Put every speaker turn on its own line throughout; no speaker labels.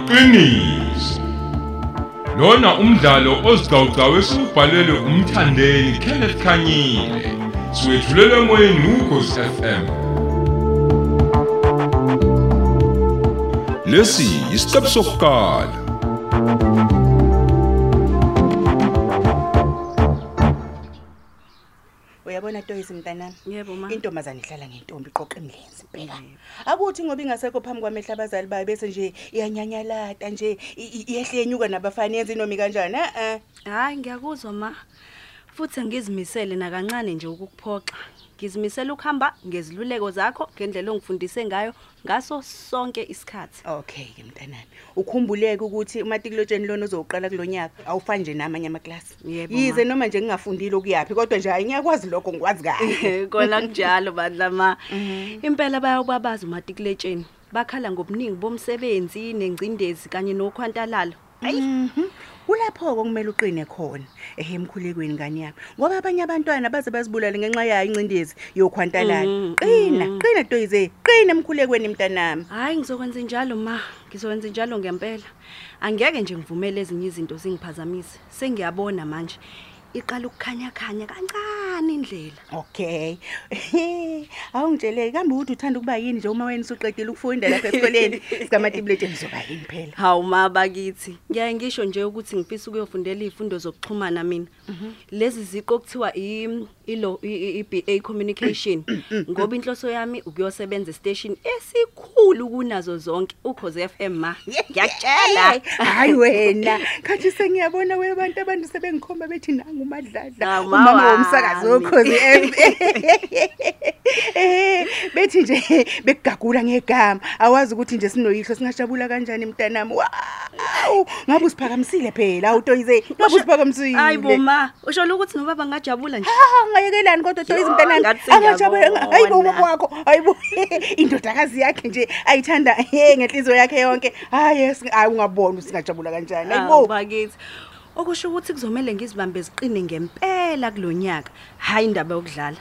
liqiniso lona umdlalo ozigcawugcawe siwubhalelwe umthandeni kenneth khanyile siwethulelwe emoyeni ukhosi fm lesi yisiqebu sokuqala
uyabona toyisi mntanami
Yebo, ma.
intombazane ihlala ngentombi iqoqa emlenzi impela akuthi ngoba ingasekho phambi kwamehla abazali bayo bese nje iyanyanyalata nje i- i- iyahlenyuka nabafana yenza inomi kanjani a-a
hhayi ngiyakuzwa ma futhi ngizimisele nakancane nje ukukuphoxa ngizimisele ukuhamba ngeziluleko zakho ngendlela ongifundise ngayo ngaso sonke isikhathi
okay-ke mntanami ukhumbuleke ukuthi umatikilotsheni lona ozowuqala kulo nyaka awufani nje namanye amaklasi
Yebo, ma.
yize noma nje ngingafundile okuyaphi kodwa nje hhayi ngiyakwazi lokho ngikwazi kahle
kona kunjalo bandla ma impela bayakubabaza umatikuletshen bakhala ngobuningi bomsebenzi nengcindezi kanye nokhwantalala
kulapho-ko kumele Mhm. uqine khona ehe emkhulekweni ngane yami ngoba abanye abantwana baze bazibulale ngenxa yayo incindezi yokhwantalana
Mm,
qina qina toyize qina emkhulekweni mntanami
hhayi ngizokwenza njalo ma ngizokwenza njalo ngempela angeke nje ngivumele ezinye izinto zingiphazamise sengiyabona manje iqala ukukhanya-khanya kancane indlela
okay awungitsheleki kambe ukuthi uthanda ukuba yini nje uma wena usuqedile ukufunda lapha esikoleni sikamatibuletsheni uzoba yini phela
hawu ma bakithi ngiyaye ngisho nje ukuthi ngifisa ukuyofundela iy'fundo zokuxhumana mina lezi ziqo okuthiwa i- ilo- i- i- i-ba communication ngoba inhloso yami ukuyosebenza esiteshini esikhulu kunazo zonke ukhoze f m ma ngiyakutshela
hayi wena khathi sengiyabona webantu abantu sebengikhomba bethi nangu umadladla
Hawu,
umama
mawami.
womsakazi wokhozi f bethi nje bekugagula ngegama awazi ukuthi nje sinoyihlo singajabula kanjani mntanami waw ngabe usiphakamisile phela awutoyize ngabe usiphakamisile
hayi bo ma usho ukuthi noba bangajabula nje
Ah, ungayekelani kodwa toyize
Yho,
mntanami
ngathi
angajabula
sengiyabona.
hayi bo ubaba wakho hayi bo indodakazi yakhe nje ayithanda hey ngenhliziyo yakhe yonke hayi yes hayi ungabona ukuthi singajabula kanjani hayi
Ah,
bo
bakithi okusho ukuthi kuzomele ngizibambe ziqine ngempela kulo nyaka hhayi indaba yokudlala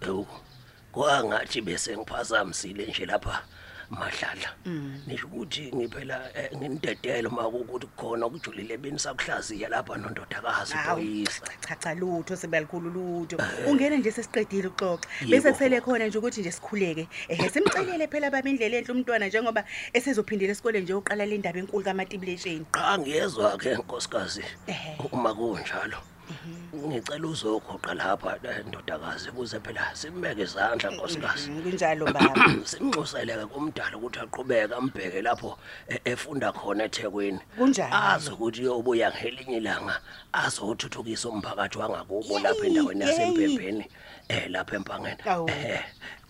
Ewu. Kwangathi bese ngiphazamisile nje lapha madlala.
Mm.
Nisho ukuthi ngiphela eh, ngindedelo maku ukuthi khona ukujulile benisakuhlaziya lapha nondodakazi
Hawu,
uPhoyisa.
cha cha lutho sibalikhulu lutho ungena nje sesiqedile ukuxoxa bese
Eh. Yebo.
kusele khona nje ukuthi nje sikhuleke ehe simcelele phela baba indlela enhle umntwana njengoba esezophindela esikoleni nje uqala le ndaba enkulu kamatibulesheni
Cha ngiyezwa ke nkosikazi
Ehhe. Mhm.
uma kunjalo. Ngicela uzokhoqa lapha eh, ndodakazi ukuze phela simbeke izandla nkosikazi.
Hmm, kunjalo baba
simnxuseleke kumdala ukuthi aqhubeke ambheke lapho e- efunda khona eThekwini
Kunjani?
azi ukuthi uyobuya ngelinye ilanga azothuthukisa umphakathi wangakubo
Yeyi,
lapha endaweni
yeyi.
yasempembeni eh lapha empangeni
Awu.
eh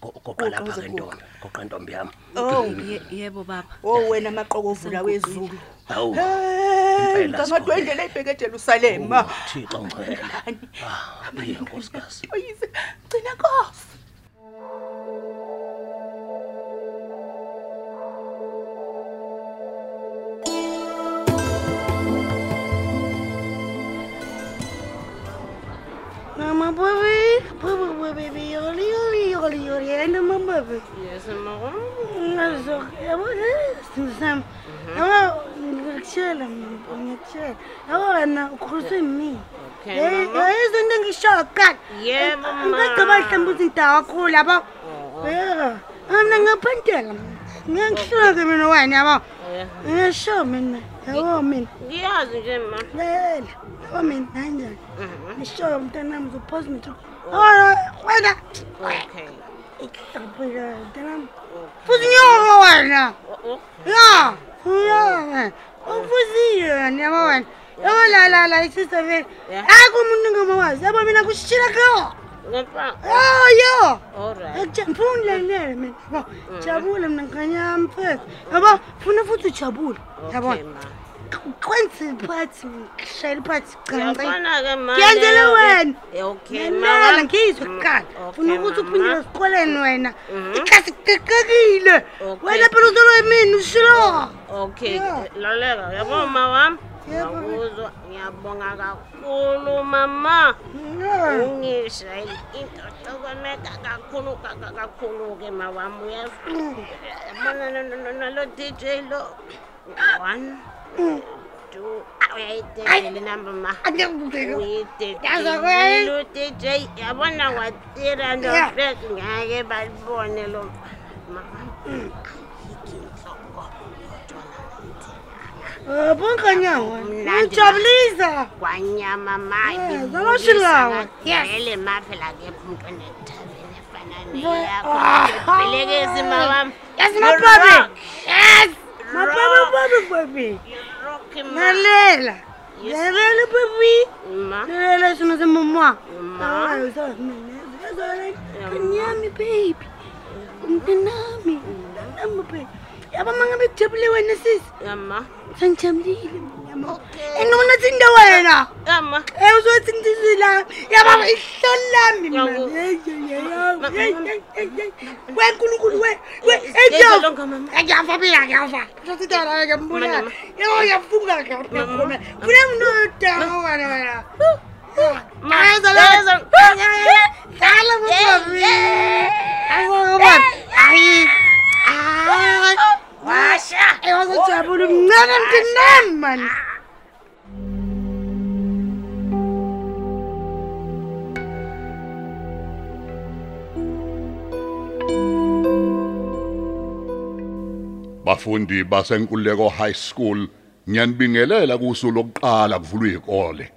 go- goqa lapha
uze
ke
goqa.
ntombi goqa ntombi yami
oh
Ye- yebo baba
oh wena amaqokovula wezulu
awu
Hey,
Impela Oh.
ngangadwa
sikhona.
indlela eyibhekedela usalema
thixo ngcwele ah uye nkosikazi
oyise gcina kof
Maman bébé, maman bébé, yoli yoli yoli yoli, elle est maman bébé. Yes, maman. Alors, c'est ça. Alors, ngikuthela mina ngikuthela awona ukhulisa yimi eh izinto engishoyo kuqala yebo ngigqiba mhlawumbe izindawo kakhulu yabo Eh, mina ngiyaphendela ngiyangihleke mina wena yabo ngiyasho mina yabo mina
ngiyazi nje ma
Lela, yabo mina kanjani? Nishoyo mntanami uzophosa nje. Oh, wena.
okay
Ikupila mntanami. Futhi nyoko wena. Ya, uyona. Ufuziyo yena wena. Yabo la la la isisa vele.
Yeah.
Akho umuntu ngamawazi. Yabo mina kushila kho.
ngepa
Oh, yo.
allright
Ngijabule lele mina. Yabo,
Mm.
Jabula mina nganyama phezulu. Yabo, funa futhi ujabule.
okay
Yabona.
ma
Kwenze iphathi, ngishayela iphathi cha cha.
ngiyabona-ke ma
Ngiyenzele
leyo-ke.
wena.
Eh, okay
Ngiyalela
ma.
ngizwe
Mm,
kuqala.
okay,
Funa ukuthi
mama.
uphindele esikoleni wena.
Mhm.
Iklasi qeqekile.
Okay.
Wena phela uzolo yemini ushilo.
okay
Yeah.
laleka yabo ma wami
Yebo.
Ngakuzwa, ngiyabonga kakhulu mama.
Ngiyabonga.
Mm-hmm. Ungishayile into tokomeka kakhulu ka- kakhulu-ke mawami uyabona nalo DJ lo one two Ah, uyayidedele namba ma
Yazi akuyayi-
uyidedelelu DJ yabona watira
Yeah.
lobek ngake balibone lo mamainhloko
Bonkanyawo.
Mnandi.
Eh, Ngijabulisa.
kwanyama
Yeah, zaloshilawa. Eh, Yes.
maele maphela-ke umntu enethabeni efana
Bo- Ah.
neyakhoelekezi mawami
Yes mababe. Yes. Mababe babe babe.
Mm.
Ngalela. Ngalela babe. Ngalela sino semama.
Ma.
Hayi usamina. Kanyami baby.
Mm-hmm.
Umntanami. Umntanami babe. Yaba mangabe kujabule wena sisi.
ama
Sengijabulile. Engibona tsinde wena.
ama
Eh uzothi ngizila. Yaba ihlolo lami
Yabo.
manje.
Ma-
Wenkulunkulu we we Eh,
Yenza
ejo.
lonke mama
Ngiyafa mina ngiyafa. Uzothi dala
Mama,
ngiyambona.
mama.
Yebo ngiyafunga kahle
Mama,
khona. Kule mnoda wena wena.
Ma,
Yenza la.
yenza.
Ah. Dala mama. Ayo mama. Ayi. Ayi. Washa. Eyozojabula umncane mntanami man.
bafundi basenkululeko high school ngiyanibingelela kusu lokuqala kuvulwe ikole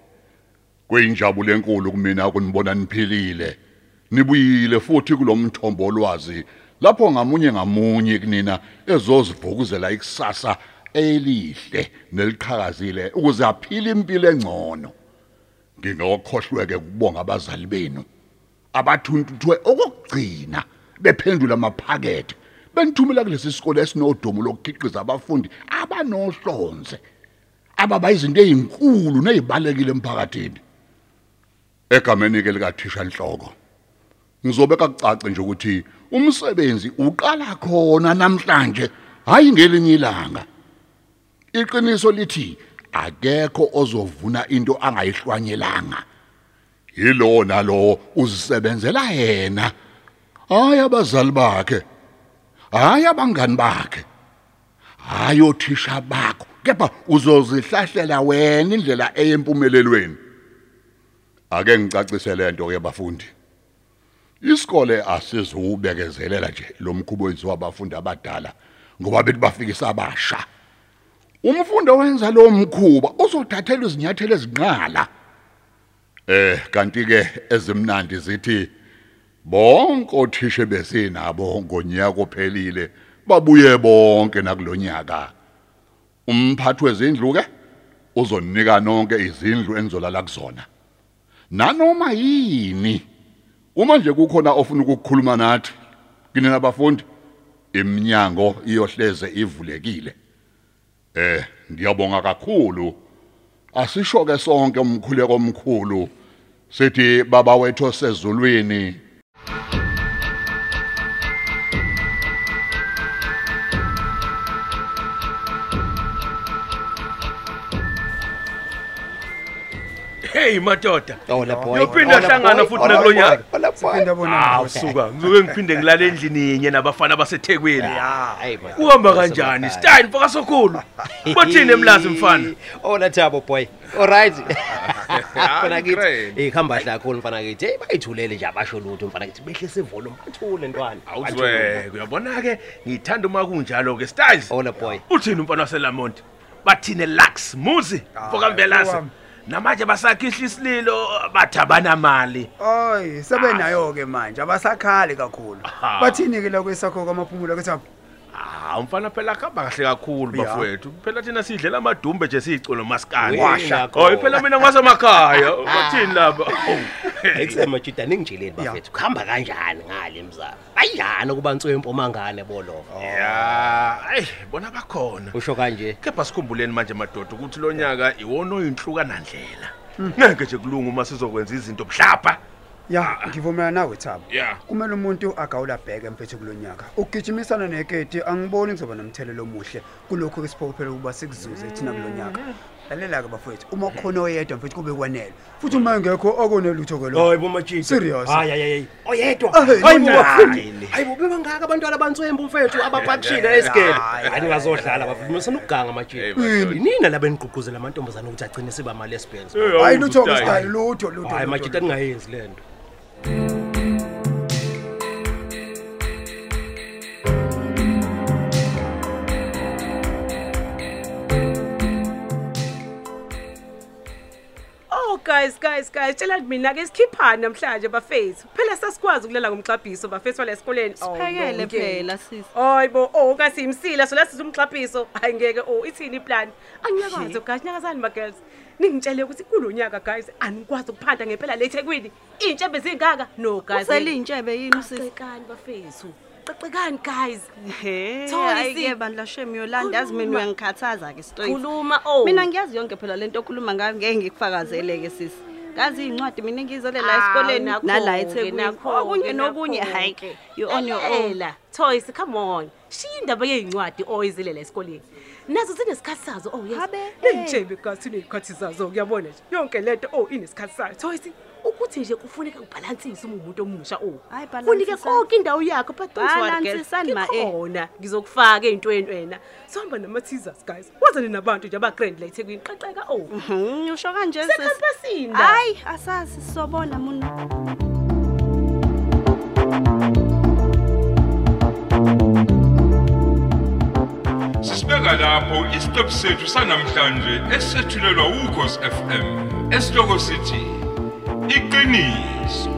kuyinjabulo enkulu kumina ukunibona niphilile nibuyile futhi kulomthombo olwazi lapho ngamunye ngamunye kunina ezozivukuzela ikusasa elihle neliqhakazile ukuze aphile impilo engcono ngingokhohlweke ukubonga abazali benu abathuntuthwe okokugcina bephendula amaphakethe benithumela kulesi sikole esinodumo lokukhiqiza abafundi abanohlonze ababa izinto ezinkulu nezibalekile emphakathini egameni ke likathisha inhloko ngizobeka kucace nje ukuthi umsebenzi uqala khona namhlanje hayi ngelinye ilanga iqiniso lithi akekho ozovuna into angayihlwanyelanga yilo nalo uzisebenzela yena hayi abazali bakhe hayi abangani bakhe hayi othisha bakho kepha uzozihlahlela wena indlela eyempumelelweni ake ngicacisele lento ke bafundi isikole asizubekezelela nje lo mkhubo wenziwa abafundi abadala ngoba bethi bafikisa abasha umfundi owenza lo mkhuba uzothathelwa izinyathelo ezinqala Eh kanti ke ezimnandi zithi bonke othishe besinabo ngonyaka ophelile babuye bonke nakulonyaka. Umphathi wezindlu ke uzonika nonke izindlu enizolala kuzona. Nanoma yini uma nje kukhona ofuna ukukhuluma nathi kinina abafundi iminyango iyohleze ivulekile. Eh ngiyabonga kakhulu. asisho ke sonke umkhuleko omkhulu sithi baba wethu sezulwini
hey madoda
Ola Oh, boy. Oh,
Yophinda hlangana futhi nakulonyaka.
Siphinda bona.
hawu suka ngizoke ngiphinde ngilale endlini yinye nabafana basethekwini
Hayi boy.
kuhamba kanjani stein faka sokhulu bathini emlazi mfana
Ola thabo boy. Alright. Mfana
great.
kithi. Eh hamba kahle kakhulu mfana kithi. Hey bayithulele nje abasho lutho mfana kithi. Behlise volume bathule ntwana. Bathule.
awuzweke uyabona-ke ngithanda uma kunjalo-ke styles
Ola boy.
uthini umfana waselamonti bathine lax muzi pokambelasa namanje basakhihle isililo bathi abanamali
oy sebenayo-ke manje abasakhali kakhulu
Aha.
bathini-ke lokwesakho kwamaphumulo kuthi
hawu Ah, umfana phela kuhamba kahle kakhulu
Ya.
bafowethu phela thina sidlela amadumbe nje siyicolo masikani
Washa.
oy phela mina ngwasemakhaya bathini laba Owu, hey.
Eksemajida ningijileli bafethu. Khamba kanjani ngale mzamo? Kanjani kuba ntsuwe empomangane boloko.
Oh. ya ayi bona bakhona
Usho kanje.
kepha sikhumbuleni manje madoda ukuthi Hmm. lo nyaka iwona oyinhlukana ndlela ngeke nje kulunga uma sizokwenza izinto mhlapha Ah, ya ngivumelana nawe thabo
ya
kumele umuntu agawula bheke mfethu kulonyaka ukugijimisana neketi angiboni kuzoba nomthelelo omuhle kulokhu ke siphokophela ukuba sikuzuze thina kulonyaka lalela-ke bafowethu uma kukhona oyedwa mfethu kube kwanele futhi uma engekho akonelutho
Hayi,
serious
Oh,
Ah,
Hayi, hayi, hayi. oyedwa
Hey,
hayi bo
nani.
bafundi hayi bo bebangaka abantwana abantswembu mfethu abapakishile esigele
Hayi,
hayi ngazodlala bavumisana ukuganga matshini
Yini?
yinina laba eniququzela amantombazane ukuthi agcine siba mali esibhenzi
hayi lutho kusitali lutho lutho
hayi
lutho.
majita ningayenzi le nto
Oh guys guys guys tshela mina ke sikhiphani namhlanje bafethu phela sasikwazi ukulala ngomxabhiso bafethu wala esikoleni Oh,
Siphekele
lonke.
phela, sis.
Hayibo oh kasi imsila so lasiza umxabhiso hayi ngeke oh ithini iplan
Shit.
angiyakwazi guys nyakazani ma girls ningitshele ukuthi kulonyaka guys anikwazi ukuphanda ngempela le eThekwini intshebe zingaka no guys
Useliyintshebe yini usisi?
Qaqekani bafethu Qaqekani guys
Hey,
Thola,
hayi
sis.
ke bandla shemi yolanda yazi mina
Khuluma.
uyangikhathaza ke straight.
Khuluma, oh.
Mina ngiyazi yonke phela lento okhuluma ngayo ngeke ngikufakazele ke sisi. Ngazi incwadi mina ngizele la
Ah,
esikoleni
nakho-ke,
nala eThekwini.
nakho-ke,
Okunye nokunye hayi
nakho-ke.
ke you on your own.
Lalela, Toys come on. Shiya indaba yezincwadi oyizilela esikoleni. Nazo zinesikhathi sazo oh yes. Ningijebe kasi nezikhathi zazo ngiyabona nje. Yonke lento oh inesikhathi sayo. Toys ukuthi nje kufuneka ubhalansise uma umuntu omusha oh.
Hayi
Unike
balansisa.
konke indawo yakho but don't worry, girl.
Balansisani, ma, eh.
Ngikhona ngizokufaka ey'ntweni wena. Sihamba nama-teasers guys. Wazane nabantu nje aba-grand la eThekwini qaqeka oh.
Mhm, Usho kanje sisi.
Sekhampasini la.
Hayi asazi sobona mina.
Sisibeka lapho isiqephu sethu sanamhlanje esethulelwa ukhosi FM. Esihloko sithi iqiniso